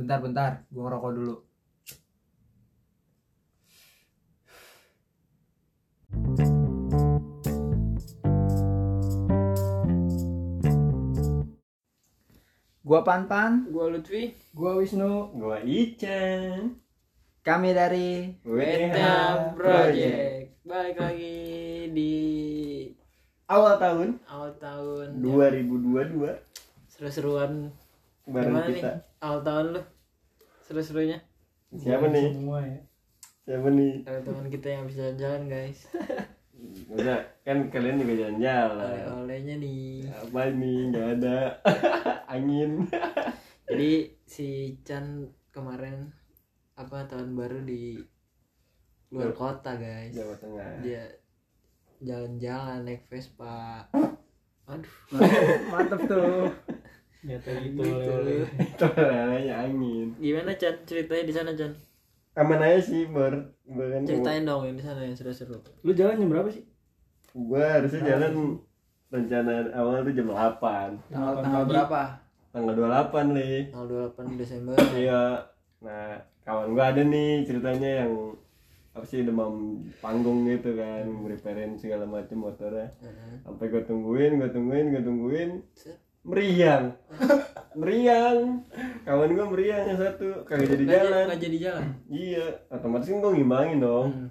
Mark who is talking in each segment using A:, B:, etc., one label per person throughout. A: Bentar, bentar. Gue ngerokok dulu. Gua Panpan,
B: Gua Lutfi
A: gua Wisnu.
C: Gua Ica.
A: Kami dari
B: Beta Project Balik lagi di
C: Awal tahun
B: awal tahun ya.
C: 2022
B: Seru-seruan
C: bareng
B: Gimana
C: kita.
B: nih awal tahun lu Seru-serunya
C: Siapa nih?
D: ya.
C: Siapa nih?
B: Teman-teman kita yang habis jalan-jalan guys
C: Udah, kan kalian juga jalan-jalan.
B: Oleh-olehnya nih
C: Apa ini? Gak ada. Angin.
B: Jadi si Chan kemarin Apa tahun baru di luar kota guys
C: Jawa Tengah.
B: Dia jalan-jalan naik Vespa Aduh
A: Mantep tuh.
B: gitu lu.
C: Itu lalanya angin.
B: Gimana Chan ceritanya di sana Chan?
C: Aman aja sih, Bor. Gua kan cuma-
B: Ceritain dong yang di sana yang seru-seru.
D: Lu jalan jam berapa sih?
C: gua harusnya jalan rencana awal tuh jam 8
D: Delapan
A: Tanggal, tanggal
D: pagi.
A: berapa?
C: tanggal 28 nih
B: tanggal 28 Desember
C: iya nah kawan gua ada nih ceritanya yang apa sih demam panggung gitu kan preparein segala macam motornya
B: Heeh.
C: sampai gue tungguin gue tungguin gue tungguin meriang meriang kawan gue meriang yang satu kagak jadi
B: nggak
C: jalan
B: nggak jadi jalan
C: iya otomatis kan gue ngimbangin dong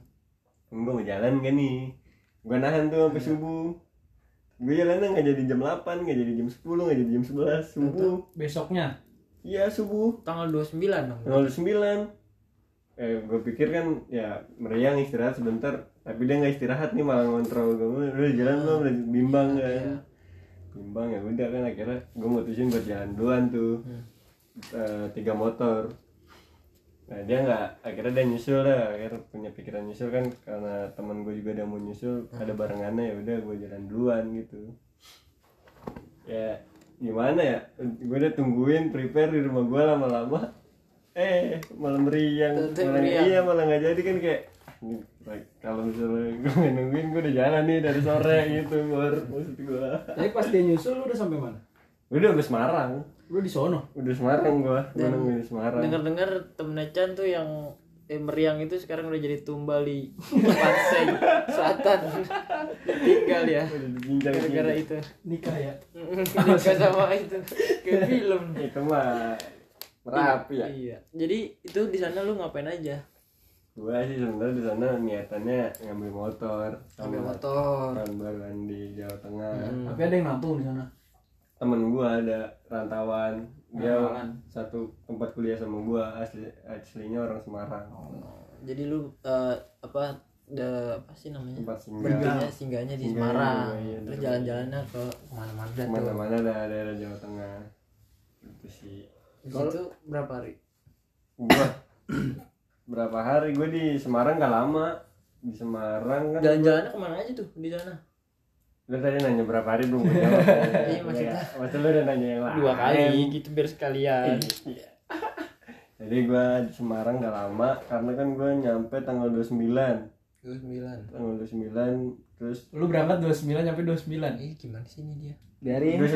C: gue mau jalan gak kan nih gue nahan tuh sampai subuh gue jalannya nggak jadi jam 8 nggak jadi jam 10 nggak jadi jam 11 subuh
D: Besoknya.
C: iya subuh
B: tanggal 29 dong
C: tanggal 9 eh gue pikir kan ya meriang istirahat sebentar tapi dia nggak istirahat nih malah ngontrol gue udah jalan belum udah bimbang kan
B: Iya.
C: bimbang ya udah kan akhirnya gue mutusin buat jalan duluan tuh
B: Hmm.
C: Eh, tiga motor nah dia nggak akhirnya dia nyusul lah akhirnya punya pikiran nyusul kan karena teman gue juga ada mau nyusul ada barengannya ya udah gue jalan duluan gitu ya gimana ya gue udah tungguin prepare di rumah gue lama-lama eh malah meriang
B: Tentu
C: malah
B: meriang.
C: iya malah nggak jadi kan kayak "Ah, ini baik. kalau misalnya gue nungguin gue udah jalan nih dari sore gitu baru maksud gue
D: Tapi pas dia nyusul lu udah sampai mana?
C: udah habis Semarang
D: Lu di sono.
C: udah Semarang gua gua nungguin di Semarang
B: dengar dengar temennya Chan tuh yang eh, meriang itu sekarang udah jadi tumbal di Pasai Selatan tinggal ya
C: udah diginjal
B: gara-gara
C: gitu
B: itu
D: Nikah ya.
B: nikah sama itu ke film
C: itu mah merapi ya
B: iya jadi itu di sana lu ngapain aja
C: gua sih sebenarnya di sana niatannya ngambil motor
B: ambil
C: sama
B: motor Hmm.
C: tahun baruan di Jawa Tengah
D: Tapi ada yang nampung di sana.
C: temen gua ada rantauan dia
D: Rantauan.
C: satu tempat kuliah sama gua asli aslinya orang Semarang
B: Oh, iya. jadi lu eh, apa the apa sih namanya
C: tempat singgah
B: Berhentinya singgahnya di
C: Singgahnya
B: Semarang
C: juga, iya,
B: terus
C: betul.
B: jalan-jalannya ke mana-mana dah tuh
C: mana-mana ada daerah Jawa Tengah itu sih
B: Di situ berapa hari
C: gua berapa hari gua di Semarang gak lama di Semarang kan
B: jalan-jalannya kemana aja tuh di sana
C: Lu tadi nanya berapa hari belum gue jawab
B: Iya, maksudnya.
C: Maksud lu udah nanya yang lain
B: dua
C: iya.
B: kali gitu biar sekalian
C: Jadi gue di Semarang gak lama Karena kan gue nyampe tanggal 29
B: dua sembilan
C: Tanggal 29 Terus
D: Lu berangkat 29 nyampe 29.
B: eh gimana sih ini dia
A: Dari
C: Gue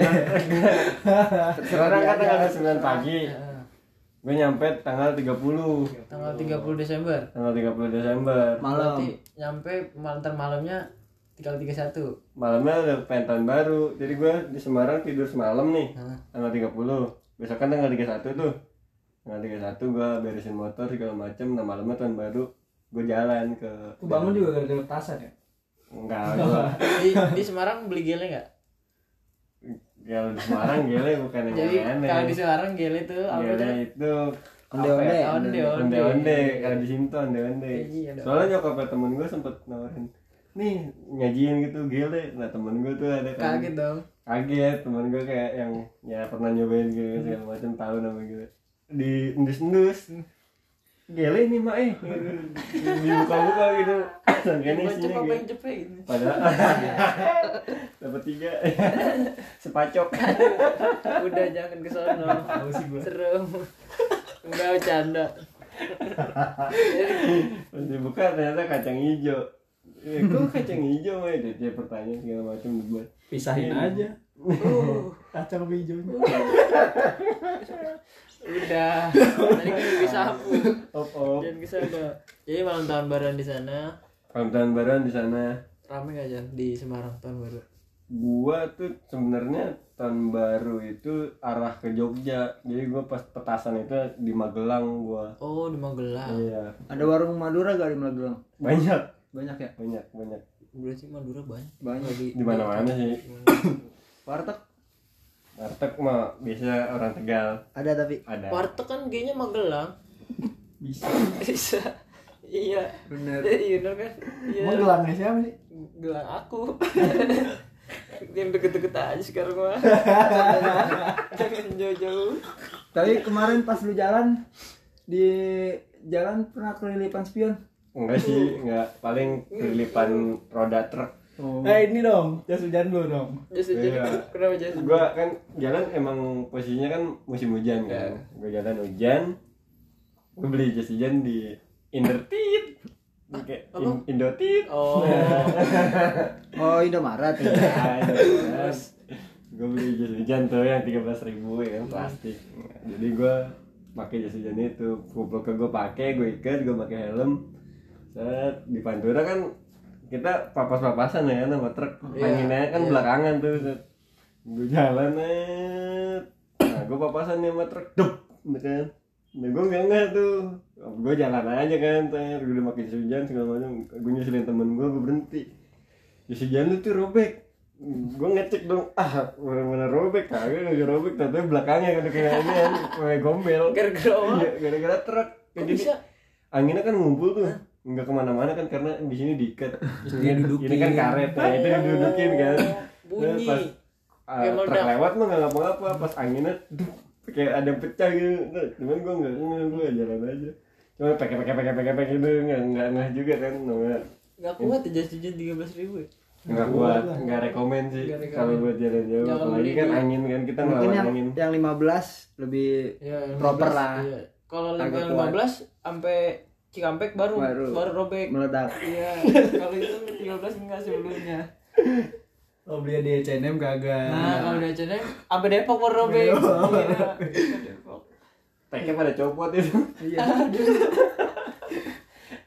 C: Sekarang kan tanggal 29 pagi
B: Ah,
C: Gue nyampe tanggal 30
B: tanggal 30 Desember
C: Tanggal 30 Desember
A: malam.
B: berarti nyampe malam malamnya tanggal 31
C: Malamnya udah pengen tahun baru Jadi gue di Semarang tidur semalam nih
B: Hah?
C: Tanggal 30 Besok kan tanggal 31 tuh Tanggal 31 gue beresin motor segala macem Nah malamnya tahun baru Gue jalan ke
D: Lu bangun juga gara-gara petasan ya.
C: Enggak gue
B: di, di Semarang beli gele nggak
C: Kalau Ya, di Semarang gele bukan yang
B: jadi
C: aneh
B: kalau di Semarang gele tuh apa
C: Gele
B: tuh
C: itu
A: Onde-onde.
C: apa ya?
B: onde onde
C: Onde-onde Kalau di Sinto onde-onde
B: Iya, dong.
C: Soalnya nyokapnya temen gue sempet nawarin Nih nyajiin gitu gele Nah temen gue tuh ada kan
B: kaget dong
C: Kaget temen gue kayak yang Ya pernah nyobain
B: Hmm.
C: gele segala macam tahu nama gele Di endus-endus
B: Hmm.
C: Gele nih mak eh Dibuka-buka gitu Sangkanya
B: Bocep
C: isinya
B: apa
C: gele
B: yang cepet gitu
C: Padahal Dapat tiga Sepacok
B: udah jangan ke sono seru enggak bercanda
C: Pas dibuka ternyata kacang hijau. Eh, kok kacang hijau ya? Dia, dia pertanyaan segala macam dibuat.
D: Iya. Uh, Pisahin aja. Kacang sama hijaunya.
B: udah tadi kan udah disapu
C: op op
B: dan ke sana jadi malam tahun baruan di sana
C: malam tahun baruan di sana
B: rame nggak Jan di Semarang tahun baru
C: gua tuh sebenarnya tahun baru itu arah ke Jogja jadi gua pas petasan itu di Magelang gua
B: oh di Magelang
C: iya
A: Ah. Ada warung Madura gak di Magelang?
C: banyak
A: Banyak ya?
C: banyak banyak
B: berarti Madura banyak Iya.
A: Banyak.
B: Lagi-
C: di mana mana sih
A: Warteg
C: warteg mah biasa orang Tegal
A: ada tapi
C: ada
B: warteg kan kayaknya Magelang
D: Bisa.
B: bisa iya
A: Bener.
B: Eh, you know kan iya
D: Emang gelangnya siapa sih?
B: gelang aku yang deket-deket aja sekarang mah jangan jauh-jauh
A: Tapi kemarin pas lu jalan di jalan pernah kelilipan spion.
C: enggak sih enggak paling kelilipan roda truk
D: Eh ini dong, jas hujan dulu dong.
B: Jas hujan
C: Iya.
B: kenapa jas hujan?
C: gua kan jalan emang posisinya kan musim hujan kan gua jalan hujan gua beli jas hujan di Indertit Di kayak in, Indotit
B: oh
A: Oh Indomaret.
C: gue beli jas hujan tuh yang tiga belas ribu ya kan plastik jadi gue pakai jas hujan itu kuplok ke gue pakai gue ikat gue pakai helm set di Pantura kan kita papas-papasan ya kan sama truk anginnya kan belakangan tuh set. gue jalan net. nah gue papasan nih sama truk dup gitu kan Nah, gue enggak enggak tuh Gue jalan aja kan ter Gue udah pakai jas hujan segala macam Gue nyusulin temen gue, gue berhenti jas hujan lu tuh robek gue ngecek dong ah mana mana robek kagak kagak robek tapi belakangnya kan kayak ini kan, kayak gombel
B: Gara-gara apa?
C: Iya, gara-gara truk
B: Kok
C: Jadi
B: bisa?
C: anginnya kan ngumpul tuh nggak kemana-mana kan karena di sini diikat ini, ini kan karet ya itu didudukin kan
B: bunyi.
C: Nah, pas ah,
B: Kayak
C: truk
B: Iya. meledak.
C: lewat mah nggak ngapa-ngapa pas anginnya duh, kayak ada yang pecah gitu Nah, cuman gue nggak gue jalan aja cuma pakai pakai pakai pakai pakai gitu nggak nggak nggak juga kan nggak
B: Gak kuat ya jas hujan 13 ribu ya?
C: nggak kuat nggak rekomen sih
B: Nggak rekomen.
C: kalau buat jalan jauh
B: Jangan
C: apalagi
B: beli
C: kan
B: di-
C: angin kan kita
A: Mungkin
C: ngelawan
A: yang
C: angin
A: yang 15 lebih
B: Ya,
A: Proper lah.
B: Iya. Kalau
A: Agak
B: lima belas sampai Cikampek baru
A: Baru.
B: baru, robek.
A: meledak.
B: Iya, kalau itu 13 enggak sebelumnya.
D: Lo beli di H&M kagak.
B: Nah, kalau udah jadi sampai Depok baru robek. Iya. Depok.
C: teknya pada copot itu
A: Iya.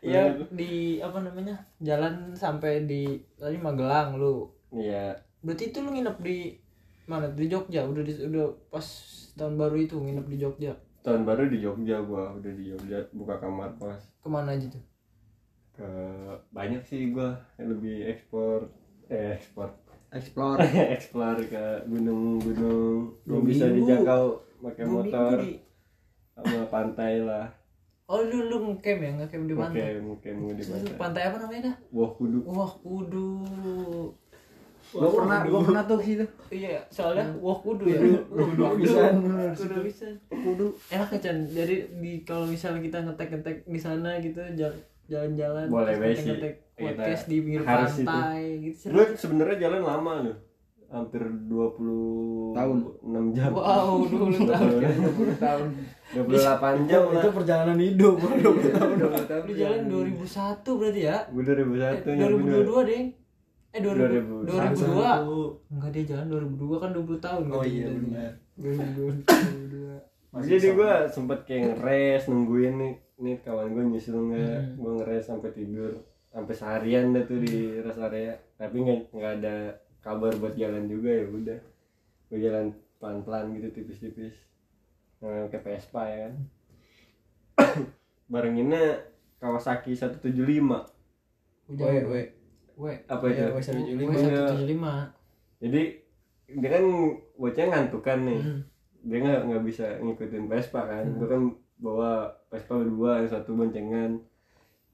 B: Iya, di apa namanya? Jalan sampai di tadi Magelang lu.
C: iya
B: Berarti itu lu nginep di mana? Di Jogja. Udah di, udah pas tahun baru itu nginep di Jogja.
C: tahun baru di Jogja gua udah di Jogja buka kamar kos
B: Kemana aja tuh?
C: ke banyak sih gua lebih ekspor eh ekspor
A: Explore.
C: eksplor ke gunung-gunung yang bisa dijangkau pakai
B: Gua
C: motor
B: minggu di-
C: sama pantai lah
B: Oh, lu lu ngecamp ya? Ngecamp di mana?
C: mungkin mungkin mau di
B: Itu
C: pantai
B: pantai apa namanya dah?
C: wah kudu
B: Wah kudu.
A: Gua pernah gua pernah tuh ke situ.
B: Iya, soalnya wah kudu ya. Wah, Kudu bisa. Kudu bisa.
A: Kudu.
B: Enak ya Chan. Jadi di kalau misalnya kita ngetek-ngetek di sana gitu jal- jalan-jalan
C: Boleh
B: terus
C: baik sih.
B: ngetek-ngetek
C: Kita
B: podcast di pinggir
C: harus
B: pantai gitu. seru.
C: gue sebenarnya jalan lama loh hampir 20
A: Tahun.
C: 6 jam
B: Wow, dulu tahun.
C: 20 tahun 28 jam
D: Itu
C: lah
D: perjalanan hidup.
B: Lu jalan 2001 berarti ya?
C: gue 2001
B: Eh,
C: yang bener.
B: 2022 deh. Eh 2000, 2002.
D: 2002.
B: Enggak dia jalan 2002 kan 20 tahun
D: Oh
B: kan
D: iya
B: dia.
D: benar.
B: 2002. 2002.
C: jadi gue sempet kayak ngeres nungguin nih nih kawan gue nyusul nggak
D: Hmm.
C: gue ngeres sampai tidur sampai seharian dah tuh
D: Hmm.
C: di rest area tapi nggak nggak ada kabar buat jalan juga ya udah gue jalan pelan pelan gitu tipis tipis nah, ke Vespa ya kan barenginnya Kawasaki 175
D: Woi, woi.
B: Woi.
C: apa itu
D: Iya, wes ada Juli.
B: Gue
C: Iya.
B: 175
C: jadi dia kan bocah ngantukan nih
D: Hmm.
B: Hmm.
C: dia nggak nggak bisa ngikutin Vespa kan gue kan bawa Vespa berdua yang satu boncengan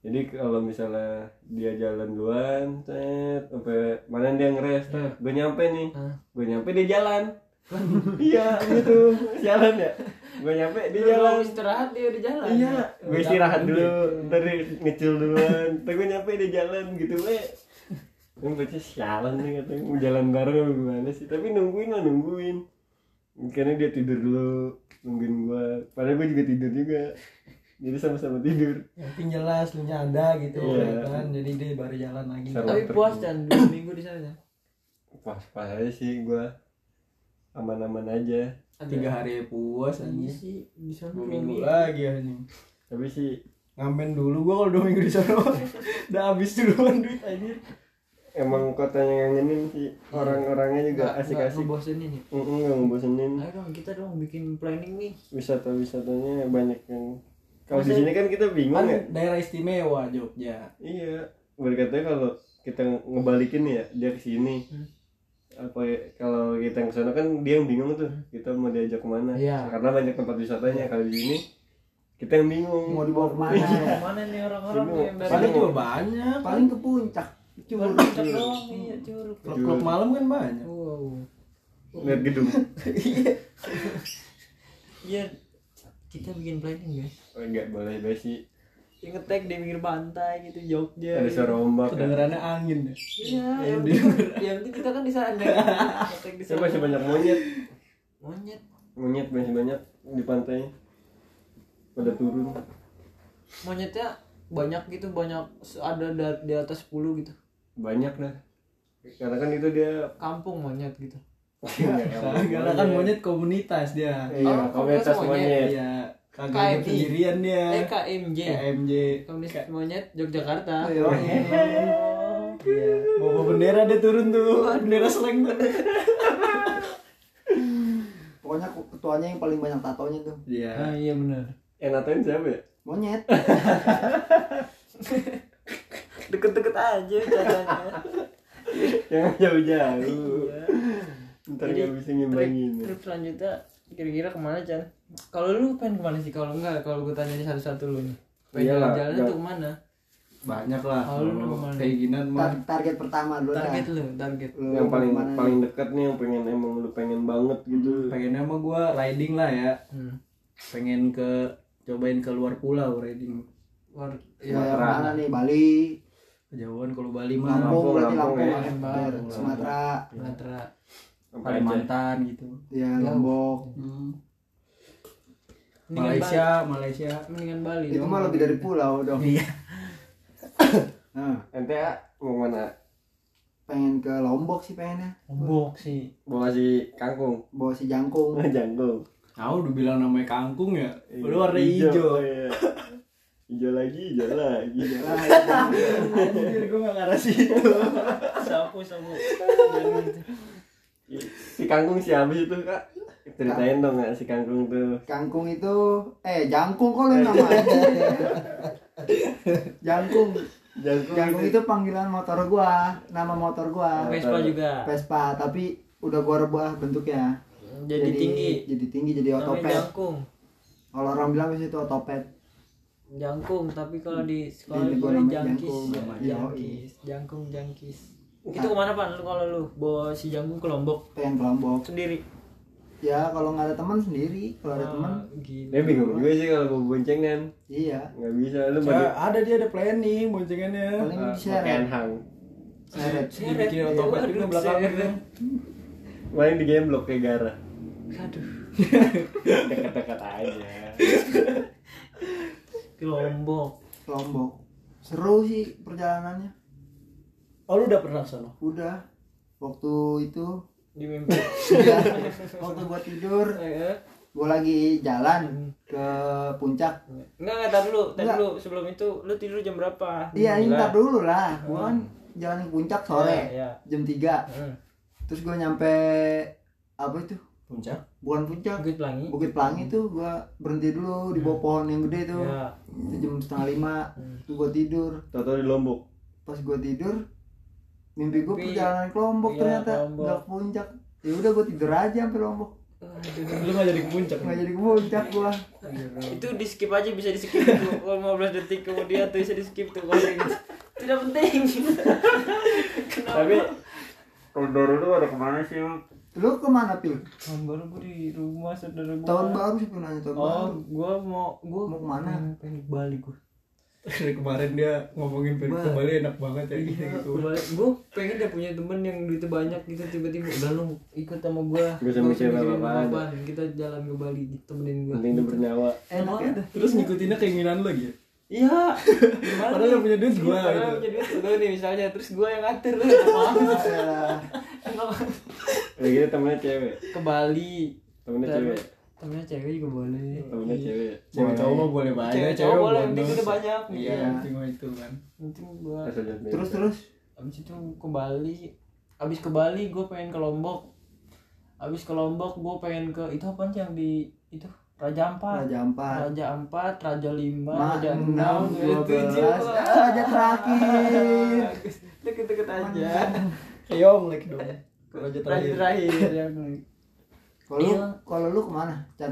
C: jadi kalau misalnya dia jalan duluan set sampai mana dia ngeres gue nyampe nih
B: Hah?
C: gue nyampe dia jalan iya gitu jalan ya gue nyampe dia
D: Iya.
C: jalan
B: Lu istirahat dia udah jalan
C: iya gue istirahat dulu ntar dia ngecil duluan ntar gue nyampe di jalan gitu we gue baca sialan nih katanya mau jalan bareng apa gimana sih tapi nungguin lah nungguin karena dia tidur dulu nungguin gue padahal gue juga tidur juga jadi sama-sama tidur
D: Ya, Yang penting jelas lu nyada gitu
C: Iya.
D: kan. Jadi dia baru jalan lagi.
C: Seru.
B: tapi puas dan dua minggu di sana
C: pas pas aja sih gue aman-aman aja
D: tiga hari puas
B: Iya
D: anjing
B: sih di sana
D: dua
B: dua
D: minggu
B: minggu.
D: lagi anjing
C: tapi sih
D: ngamen dulu gua kalau dua minggu di sana udah habis duluan duit anjing
C: emang kotanya ngangenin sih orang-orangnya juga
B: Nggak- nggak
C: asik-asik
B: ngebosenin ya.
C: Mm-mm, nggak ngebosenin
B: Ayo dong kita dong bikin planning nih.
C: wisata-wisatanya banyak yang kalau di
B: Maksudnya-
C: sini kan kita
D: kan
C: bingung ya
D: daerah istimewa Jogja
C: Iya, berkatnya kalau kita ngebalikin ya dia ke sini. Apa ya, kalau kita yang kesana kan dia yang bingung tuh, kita mau diajak kemana?
B: Iya.
C: Karena banyak tempat wisatanya kalau di sini kita yang bingung. Iya,
A: mau dibawa kemana
B: Nah, Mana nih orang-orang
C: Sini.
B: yang
D: Iya. paling
B: dari
D: juga banyak
A: paling ke puncak
B: Baru
A: cuma
B: puncak doang iya curug.
D: klub klub malam kan banyak
B: Wow.
C: Lihat gedung.
B: Iya. Kita bikin planning guys.
C: Oh, Enggak boleh guys sih.
B: Yang ngetek di pinggir pantai gitu Jogja.
C: Ada suara ombak. ya.
D: kedengarannya angin deh
B: Iya, yang penting- yang penting kita kan di sana. Ngetek di
C: Saya
B: sana.
C: masih banyak monyet.
B: Monyet.
C: Monyet masih banyak di pantai. Pada turun.
B: Monyetnya banyak gitu, banyak ada da- di atas 10 gitu.
C: Banyak lah. Karena kan itu dia
B: Kampung monyet gitu.
C: Ya,
D: Karena kan monyet komunitas dia.
C: Iya,
B: Oh, komunitas
C: komunitas monyet.
D: Iya, kagak hidup
B: KMI.
D: sendirian
B: Eh Oh,
D: dia.
B: KMJ.
D: KMJ.
B: Komunitas monyet Yogyakarta.
D: Iya. Bawa bendera dia turun tuh. Bendera seleng tuh.
A: pokoknya ku- ketuanya yang paling banyak tatonya tuh
D: Iya.
B: iya benar.
C: Enatain siapa ya?
A: monyet
B: Deket-deket aja caranya.
C: Jangan jauh-jauh. Ntar
B: Jadi,
C: nggak bisa ngimbangin.
B: Trip selanjutnya kira-kira kemana Chan? Kalau lu pengen kemana sih? Kalau enggak, kalau gue tanya satu-satu lu nih.
C: Iya
B: Pengen
C: lah,
B: jalan-jalan
C: enggak.
B: tuh kemana?
D: Banyak lah.
B: Oh, lu
D: kalau
B: nomor-
D: Keinginan
A: Tar-
D: mah.
A: target pertama dulu dah
B: Target lu, target.
A: Lu
C: yang
A: mau
C: paling
A: kemana nih?
C: paling dekat nih yang pengen emang lu pengen banget gitu
D: Pengennya mah gua riding lah ya.
B: Hmm.
D: Pengen ke cobain ke luar pulau riding.
B: Luar
A: Mau
B: ya,
A: yang mana nih Bali
D: Kejauhan kalau Bali mah
A: Lampung berarti
C: Lampung,
A: Lampung,
C: ya.
A: Lampung,
D: Lampung.
A: Sumatera
B: Sumatera.
C: apa aja
D: Kalimantan gitu.
A: ya Lombok
D: Hmm.
B: Mendingan
D: Malaysia, Malaysia.
B: Bali. ya, Mendingan Bali.
A: itu
B: dong.
A: mah lebih dari pulau dong
D: Iya.
A: nah,
C: NTA mau mana
A: pengen ke Lombok sih pengennya
B: Lombok sih.
C: bawa si kangkung
A: bawa si jangkung
C: jangkung
D: Tahu udah bilang namanya kangkung ya.
C: Iya.
D: Udah warna hijau.
C: iya. hijau lagi hijau lagi
A: Lah, itu.
D: Anjir gue gak ngarah situ
B: Sapu sapu.
C: Iya. si kangkung si habis itu kak ceritain dong nggak si kangkung tuh
A: Kangkung itu eh jangkung kok lu namanya. jangkung. Jangkung itu panggilan motor gua, nama motor gua.
B: Vespa juga.
A: Vespa, tapi udah gua rebah bentuknya.
B: Jadi tinggi.
A: Jadi tinggi jadi
B: Namanya
A: otopet.
B: jangkung.
A: Kalau orang bilang biasanya itu otopet.
B: Jangkung, tapi kalau di sekolah
A: Jadi
B: gue
A: gua
B: namanya
A: namanya
B: jangkis.
A: jangkung,
B: ya.
A: Iya, Nah. namanya.
B: Jangkis, jangkung, jangkis. Itu kemana pan lu kalau lu bawa si jangkung ke Lombok
A: Pengen ke Lombok.
B: sendiri?
A: Ya kalau nggak ada teman sendiri, kalau ada teman
B: Ah, gila.
C: dia bingung juga sih kalau mau boncengan
A: iya.
C: nggak bisa lu mau di-
D: Ada dia ada planning boncengannya
A: Paling
C: pakaian
A: diseret,
C: hang
A: seret.
B: Seret.
D: Bikin otopet
B: Waduh,
D: juga belakangnya
B: seret.
C: main di game blok kayak gara
B: Aduh,
C: dekat-dekat aja
B: ke Lombok.
A: ke Lombok. Seru sih perjalanannya.
D: Oh lu udah pernah sono?
A: Udah waktu itu
B: Di mimpi.
A: ya, waktu gua tidur
B: Eh, eh.
A: gue lagi jalan ke puncak
B: Enggak, enggak, tar dulu, tar
A: Enggak.
B: dulu sebelum itu lu tidur jam berapa?
A: iya ini
B: Gila.
A: ntar dulu lah gue kan jalan ke puncak sore
B: Ah. Iya, Hmm.
A: jam 3
B: Heeh.
A: terus gue nyampe apa itu
D: Puncak?
A: bukan puncak
B: Bukit Pelangi.
A: bukit pelangi tuh gue berhenti dulu di bawah pohon yang gede tuh
B: Hmm. Iya. Hmm.
A: itu jam setengah lima tuh gue tidur
C: Toto di lombok
A: pas gue tidur mimpi gue
B: Mimpi.
A: perjalanan ke lombok
B: Iya,
A: ternyata
B: ke Lombok.
A: nggak ke puncak ya udah gue tidur aja sampai lombok
D: Lu gak jadi ke puncak?
A: nggak jadi ke puncak
B: Iya.
A: gue
B: itu di skip aja bisa di skip tuh kalau 15 detik kemudian tuh bisa di skip tuh kalau yang itu. tidak penting kenapa
C: tapi kalau Doro tuh ada kemana sih Mak?
A: lu kemana pil
B: tahun baru gue di rumah saudara gue
A: tahun baru sih Pil, nanya tahun
B: oh
A: baru
B: gue mau gue
A: Mau kemana?
B: pengen ke Bali gue
D: Dari kemarin dia ngomongin pengen ke Bali enak banget ya gitu
B: gue pengen deh punya temen yang duitnya banyak gitu tiba-tiba udah lu ikut sama gue
C: Nggak usah mikirin apa-apaan.
B: kita jalan ke Bali temenin gue
C: penting dia bernyawa
A: enak ya
D: Terus ngikutinnya keinginan lu gitu?
B: Iya.
D: Padahal yang punya duit
B: Iya,
D: gua, gitu.
B: Padahal
D: Iya.
B: yang punya duit gua nih misalnya, terus gua yang ngatur lu. Maaf.
A: Ayolah.
B: Emang-
C: Udah gitu temennya cewek
B: ke Bali
C: Temennya
B: Temen-
C: cewek Iya.
B: temennya cewek juga boleh
C: Temennya cewek
D: Cewek cowok mah boleh banyak.
B: Cewek cowok boleh, penting
D: bonus.
B: kita banyak.
D: Iya,
A: Iya.
D: penting mah itu kan.
B: penting gua
C: Asal jangan beda.
A: terus terus
B: abis itu ke Bali abis ke Bali gue pengen ke Lombok abis ke Lombok gue pengen ke itu apa sih yang di itu Raja Ampat
A: raja empat
B: Raja Ampat Raja Lima
A: Ma-
B: Raja
A: enam,
B: Enam
A: dua
B: Tujuh.
A: belas. Ah, raja terakhir.
B: deket-deket aja
D: Keong lagi dong.
B: Raja terakhir ya. yang
A: kalau lu
B: Iya.
A: kalau lu kemana Chan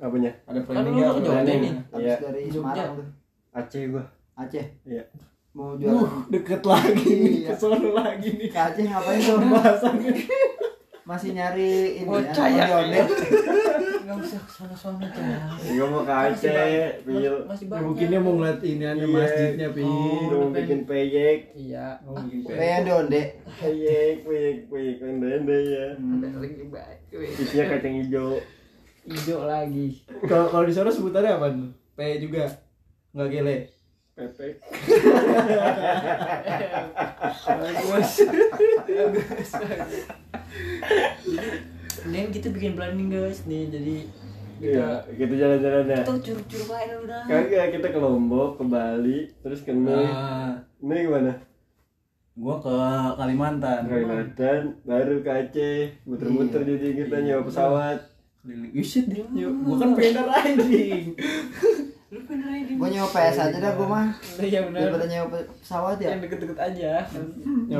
C: Apanya?
D: Ada
B: Kan lu
D: nggak?
B: ke Jawa
D: Planning.
B: Timur.
A: abis
C: Iya
A: dari
B: Jogja.
A: Semarang tuh
C: Aceh gua
A: Aceh
C: Iya
D: Uh,
A: mau jualan
D: deket lagi nih, ke
A: Iya.
D: sono lagi nih.
A: ke Aceh ngapain tuh
D: Bahasannya.
A: masih nyari ini ya
B: Bocah ya.
A: ondel-ondel.
B: nggak bisa kesana-sana cah
C: Gua Iya, mau ke Aceh Pil
B: masih
D: Ya,
B: banyak
D: mungkin dia mau ngeliat ini
C: Iya.
D: masjidnya, Pi.
B: Oh.
C: Gua mau bikin peyek
B: iya
D: Oh, bikin
A: kayak donde
C: Peyek, peyek, peyek Ende-ende ya
B: ada lagi baik
C: Isinya kacang hijau
B: hijau lagi
D: Kalau kalau di sono sebutannya apa? P juga. Enggak gele.
C: Pepek
B: bagus bagus bagus. jadi ini kita bikin planning guys nih jadi kita
C: Iya, Kan? gitu jalan-jalan ya
B: kita curug-curug aja dulu dah
C: Kagak, kita ke Lombok, ke Bali, terus ke Nih Nih gimana?
D: Ah, gua ke Kalimantan.
C: Kalimantan, baru ke Aceh, muter-muter jadi kita nyewa pesawat.
D: Keliling. Ih, shit, dia. Gua kan pengen riding.
B: lu bener aja
A: gue nyewa PS aja dah gue mah
B: iya bener
A: daripada nyewa pe- pesawat ya
B: yang deket-deket aja
D: Ya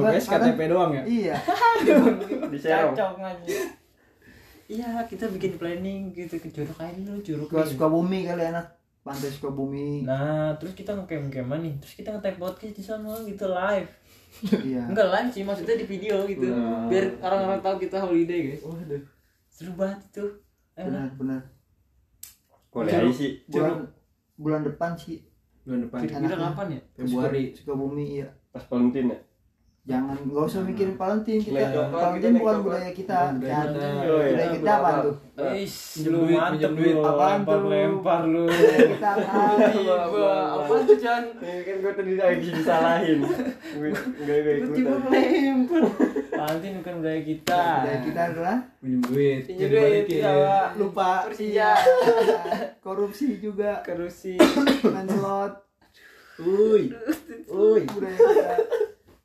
A: Gua-
D: guys, KTP doang ya.
A: iya
C: Di Serong.
B: aja iya kita bikin planning gitu ke curug aja dulu curug
A: ke
B: nih.
A: Sukabumi kali enak pantai Sukabumi
B: nah terus kita ngecamp-campan nih terus kita nge-tag podcast di sana gitu live
A: iya
B: enggak live sih maksudnya di video gitu
C: Nah.
B: biar orang-orang tahu kita holiday guys
C: Waduh.
B: seru banget itu Eh, Ayo,
A: benar benar
C: Boleh aja sih.
A: bulan bulan depan sih
D: Bulan depan.
B: Kita
A: Enaknya.
B: kapan ya?
D: Februari.
A: Sukabumi iya
C: Pas Valentine ya?
A: jangan nggak usah mikirin Valentine
C: Naik
A: kita
C: kapal,
A: Valentine
C: kita
A: bukan
C: naik
A: budaya kita
D: Bukan budaya
A: Chan.
D: kita.
C: Oh, iya.
A: budaya kita apa tuh
B: Eish,
D: Pinjem
B: lu
D: duit,
B: mantep
D: pinjem duit.
B: lu,
A: Apaan
B: lempar
A: tuh?
B: lempar lu.
A: budaya kita apa
B: Wah, wah, apa tuh Chan?
C: Ini kan gue tadi lagi disalahin. Gue gue gue
A: tiba
C: ikutan.
A: lempar
B: Valentine bukan budaya kita. ya.
A: budaya kita adalah
D: Pinjem duit. iya.
B: Pinjem
D: jadi ya,
B: duit,
D: balikin.
B: sama
A: lupa
B: Persija.
A: Iya. korupsi juga
B: kerusi.
A: mencelot
D: Uy. Uy.
A: budaya kita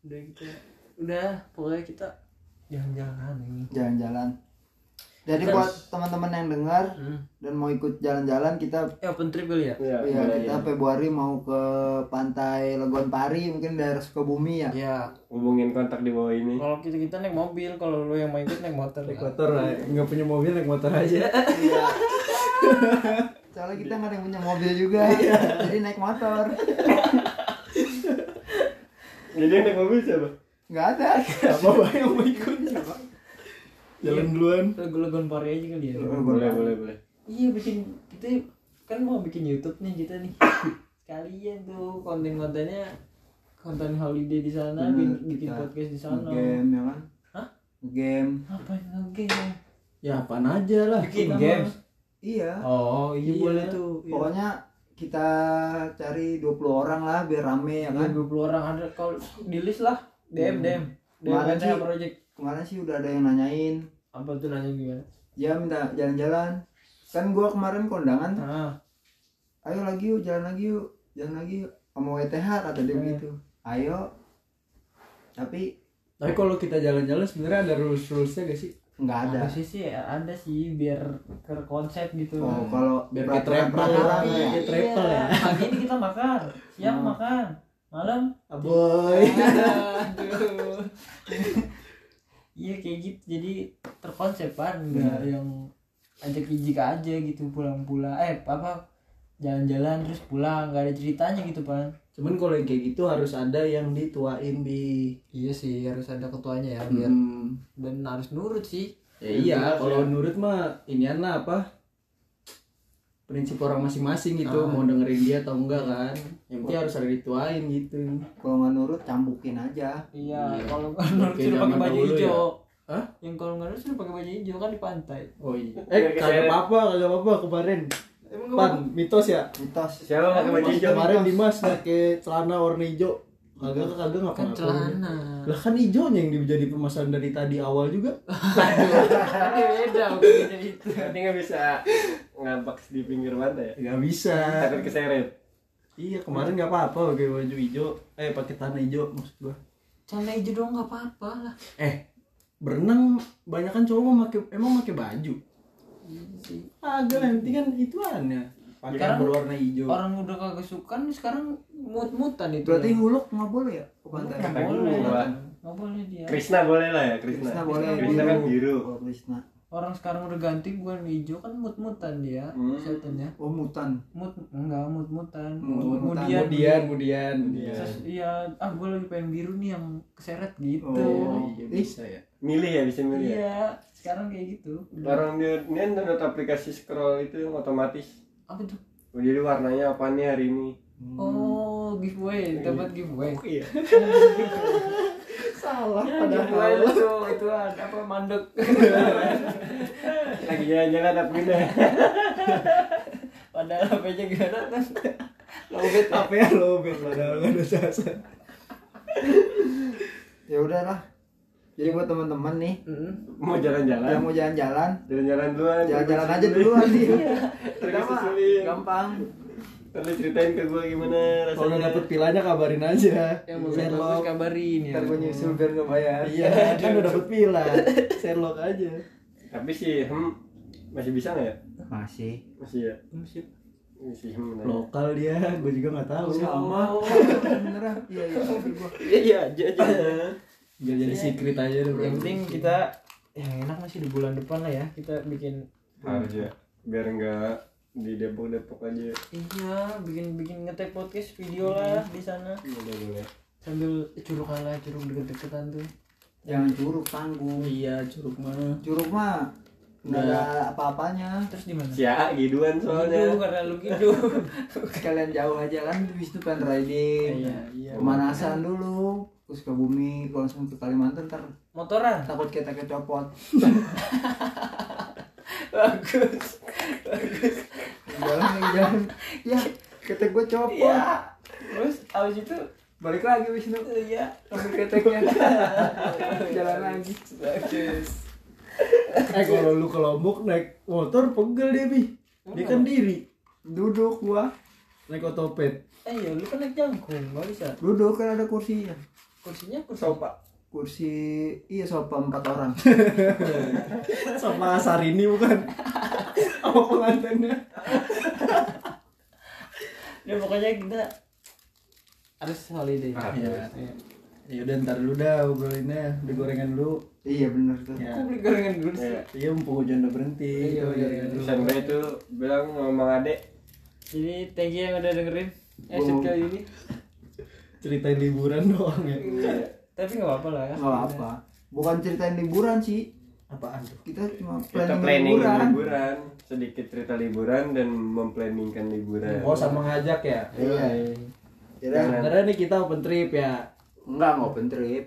B: Budaya kita. gitu. Udah, pokoknya kita jalan-jalan nih.
A: jalan-jalan jadi
B: Terus.
A: buat teman-teman yang dengar
B: Hmm.
A: dan mau ikut jalan-jalan kita
B: Eh, open trip kali ya?
C: Ya,
A: ya
C: boleh
A: kita
C: aja.
A: Februari mau ke pantai Legon Pari mungkin daerah Sukabumi ya
B: Iya.
C: Hubungin kontak di bawah ini.
B: Kalau kita kita naik mobil, kalau lu yang mau ikut naik motor.
D: Naik motor lah, nggak punya mobil naik motor aja.
A: soalnya kita nggak ada yang punya mobil juga jadi naik motor
C: Jadi ya, yang naik mobil siapa?
A: nggak ada
D: Siapa Bang, yang mau ikut? Siapa? Jalan duluan.
B: Legon pari aja kali ya.
C: Boleh, boleh, boleh.
B: Iya bikin kita kan mau bikin YouTube nih kita nih. Sekalian tuh konten-kontennya konten holiday di sana, bikin, bikin
A: Hmm, Kita
B: podcast di sana.
A: game ya kan
B: Hah?
A: game
B: Ngapain lagi? ya?
D: Ya apaan aja lah.
B: Bikin games.
D: games.
A: iya
D: Oh iya,
B: Iya.
D: boleh tuh.
A: pokoknya kita cari 20 orang lah biar rame ya kan
B: 20 orang ada kalau di list lah. DM DM. DM ada
A: Mana Hmm. sih?
B: project
A: kemarin sih udah ada yang nanyain
B: apa tuh nanya gimana?
A: ya minta jalan-jalan kan gua kemarin kondangan
B: Ah,
A: ayo lagi yuk jalan lagi yuk jalan lagi yuk mau ETH kata dia begitu ayo tapi
D: Tapi kalau kita jalan-jalan sebenarnya ada rules rulesnya gak sih?
A: nggak ada
B: ada sih sih ya, ada sih biar ke konsep gitu.
A: oh kalau
D: Biar kayak
A: peraturan
D: travel
A: peraturan
D: lah,
A: ya
D: kayak travel ya.
B: Pagi ini kita makan, siang
A: Oh.
B: makan, malam
D: Ah, Aboy.
B: Aduh. Iya kayak gitu jadi terkonsepan nggak yang ajak jijik aja gitu pulang-pulang eh apa jalan-jalan terus pulang nggak ada ceritanya gitu pan
D: Cuman kalau yang kayak gitu harus ada yang dituain di.
B: iya sih harus ada ketuanya ya
D: Hmm.
B: dan harus nurut sih
D: Ya, iya, kalau nurut mah inian lah apa? Prinsip orang masing-masing gitu, mau dengerin dia atau enggak kan. Yang penting harus ada dituain gitu.
A: kalau nggak nurut cambukin aja
B: iya kalau nggak nurut
D: Kayak
B: suruh pakai
D: zaman
B: baju
D: dahulu ya.
B: hijau
D: Hah?
B: yang kalau nggak nurut suruh pakai baju hijau kan di pantai
D: Oh iya. Eh, kagak apa-apa, kagak apa-apa kemarin. Pan, mitos ya.
A: mitos
C: Siapa pakai baju hijau?
D: Kemarin Dimas pakai celana warna hijau. kagak kagak ngapa
B: kan celana
D: lah kan hijaunya yang jadi permasalahan dari tadi awal juga
B: tapi Kan beda maksudnya itu
C: Berarti nggak bisa ngambek di pinggir pantai ya?
D: nggak bisa
C: Takut keseret.
D: iya kemarin nggak apa-apa pakai baju hijau eh pakai tanah hijau maksud gua
B: celana hijau dong nggak apa-apa lah
D: eh berenang banyak kan cowok memakai emang pakai baju
B: Iya sih.
D: agak lah, yang penting kan ituannya pakaian
B: Sekarang
D: berwarna hijau
B: orang udah kagak suka nih sekarang mut-mutan itu
A: Berarti huluk nggak boleh ya ke pantai?
B: nggak
C: Kata
B: boleh
C: gua.
B: nggak boleh dia
C: Krishna boleh lah ya Krishna.
A: Krishna boleh.
C: Krishna kan biru.
A: Oh, Krishna.
B: orang sekarang udah ganti bukan hijau kan mut-mutan dia setannya
A: Oh, mutan.
B: mut enggak mut-mutan
A: Mut-mutan.
B: kemudian
D: kemudian kemudian
B: terus iya ah gue lagi pengen biru nih yang keseret gitu
A: Oh,
D: iya
A: ih,
D: bisa ya
C: Milih ya bisa milih. Ya?
B: iya sekarang kayak gitu
A: Iya.
C: Orang dia dia download aplikasi scroll itu yang otomatis.
B: apa tuh
C: Oh, Jadi warnanya apa nih hari ini?
B: oh giveaway dapat giveaway
C: Iya.
A: salah
B: Ya,
A: padahal.
B: giveaway itu itu apa mandek
C: Lagi jalan-jalan tapi udah.
B: padahal HP-nya gimana kan
D: lobet apa ya lobet padahal nggak ada sasa
A: Ya udahlah. Jadi buat teman-teman nih
C: Mau jalan-jalan.
A: yang mau jalan-jalan,
C: Jalan-jalan duluan.
A: jalan-jalan aja duluan sih.
C: Terus
A: Kita mah
C: susulin.
A: gampang.
C: Terus ceritain ke gue gimana
D: kalau
C: rasanya.
D: dapet pilanya kabarin aja
B: yang mau bagus kabarin ya
A: Ntar gue nyusul biar nggak bayar.
D: iya kan udah dapet pila Sherlock aja
C: Tapi sih hmm, masih bisa nggak ya?
A: Masih.
C: Masih ya. Masih hmm. nanya.
D: lokal dia gue juga nggak tahu
A: Sama. Beneran. Iya, iya. maksud gua.
C: Iya aja aja.
D: biar jadi secret aja deh bro
B: yang penting kita yang enak masih di bulan depan lah ya kita bikin
C: Harus ya. Biar nggak di Depok Depok aja.
B: iya bikin bikin ngetep podcast video lah di sana
C: Boleh boleh.
B: Iya. sambil curug lah curug deket-deketan tuh
A: Jangan curug tanggung.
D: iya curug mana
A: Curug mah nggak ada apa-apanya.
B: terus di mana
C: Si A giduan
B: Gidu,
C: soalnya.
B: karena lu gitu
A: Sekalian jauh aja kan bis itu pengen riding.
B: iya iya
A: Pemanasan dulu, terus ke bumi, kalau langsung ke Kalimantan ntar
B: motoran
A: takut kita kecopot.
B: bagus bagus
A: Jalan jalan. Ya, ketek gue copot.
B: iya terus abis itu
A: Balik lagi Wisnu.
B: iya
A: Ambil keteknya. jalan lagi.
B: bagus
D: eh kalau lu ke Lombok naik motor pegel dia bi dia kan diri
A: Duduk gua.
D: naik otopet
B: eh iya lu kan naik jangkung nggak bisa
A: Duduk kan ada kursinya.
B: kursinya kursi
C: Sopa.
A: Kursi iya sofa empat orang.
D: sama Sarini bukan sama pengantinnya
B: ya pokoknya kita harus holiday
D: ya
B: iya.
D: ya udah ntar dulu dah obrolinnya udah gorengan dulu
A: iya benar tuh.
D: ya
B: aku beli gorengan dulu sih
C: Iya.
D: iya mumpung hujan udah berhenti
B: Iya,
D: kita
B: iya,
D: gorengan dulu.
C: Pesan gue itu bilang sama Mang Ade.
B: jadi thank you yang udah dengerin episode
A: Wow.
B: kali ini
D: ceritain liburan doang ya
B: tapi nggak apa-apa lah ya
A: Enggak apa. Bukan ceritain liburan sih.
D: apaan tuh
A: Kita cuma
C: Kita
A: planning,
C: planning
A: liburan.
C: liburan. sedikit cerita liburan dan memplanningkan liburan.
D: oh sama ngajak ya
A: Iya. Kira
D: sebenarnya nih kita open trip ya
A: enggak mau open trip.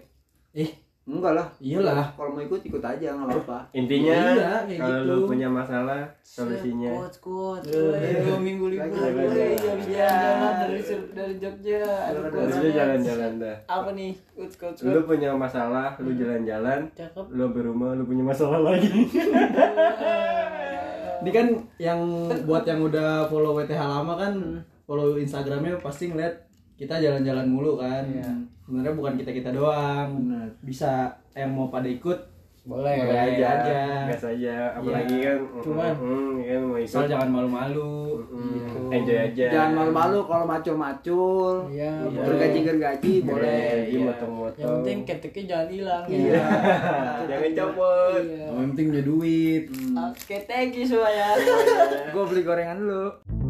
D: eh
A: Enggak lah.
D: iyalah
A: Kalau mau ikut ikut aja enggak apa-apa.
C: Intinya
D: Iya, kayak
C: kalau
D: gitu.
C: lu punya masalah solusinya
B: Kuat kuat. Dua minggu libur.
A: Lagi,
C: lagi,
B: Woi,
C: lagi.
B: Jalan-jalan dari Iya. dari Jogja. Aduh, kuat
C: Lu
B: banget.
C: jalan-jalan dah.
B: Apa nih? Kuat kuat kuat.
C: Lu punya masalah, lu jalan-jalan,
B: Cakep.
C: lu berumah, lu punya masalah lagi.
D: ini kan yang buat yang udah follow WTH lama kan follow Instagramnya pasti ngeliat kita jalan-jalan mulu kan sebenarnya bukan kita kita doang
A: Benar.
D: bisa yang mau pada ikut
B: Boleh. ya.
D: Boleh aja aja
C: Gas aja, apalagi kan mm,
B: Cuman,
C: mm, mm, kan mau ikut
D: soal jangan malu-malu gitu.
C: mm, enjoy aja.
A: Jangan malu-malu kalau macul-macul.
B: Iya,
A: Gergaji-gergaji boleh.
C: Boleh,
D: Iya.
B: Yang
C: motong-motong.
B: penting keteknya jangan hilang. ya.
A: Iya.
C: Jangan copot.
B: Iya.
D: yang penting punya duit
B: Oke, thank you semuanya.
A: Iya. Gue beli gorengan dulu.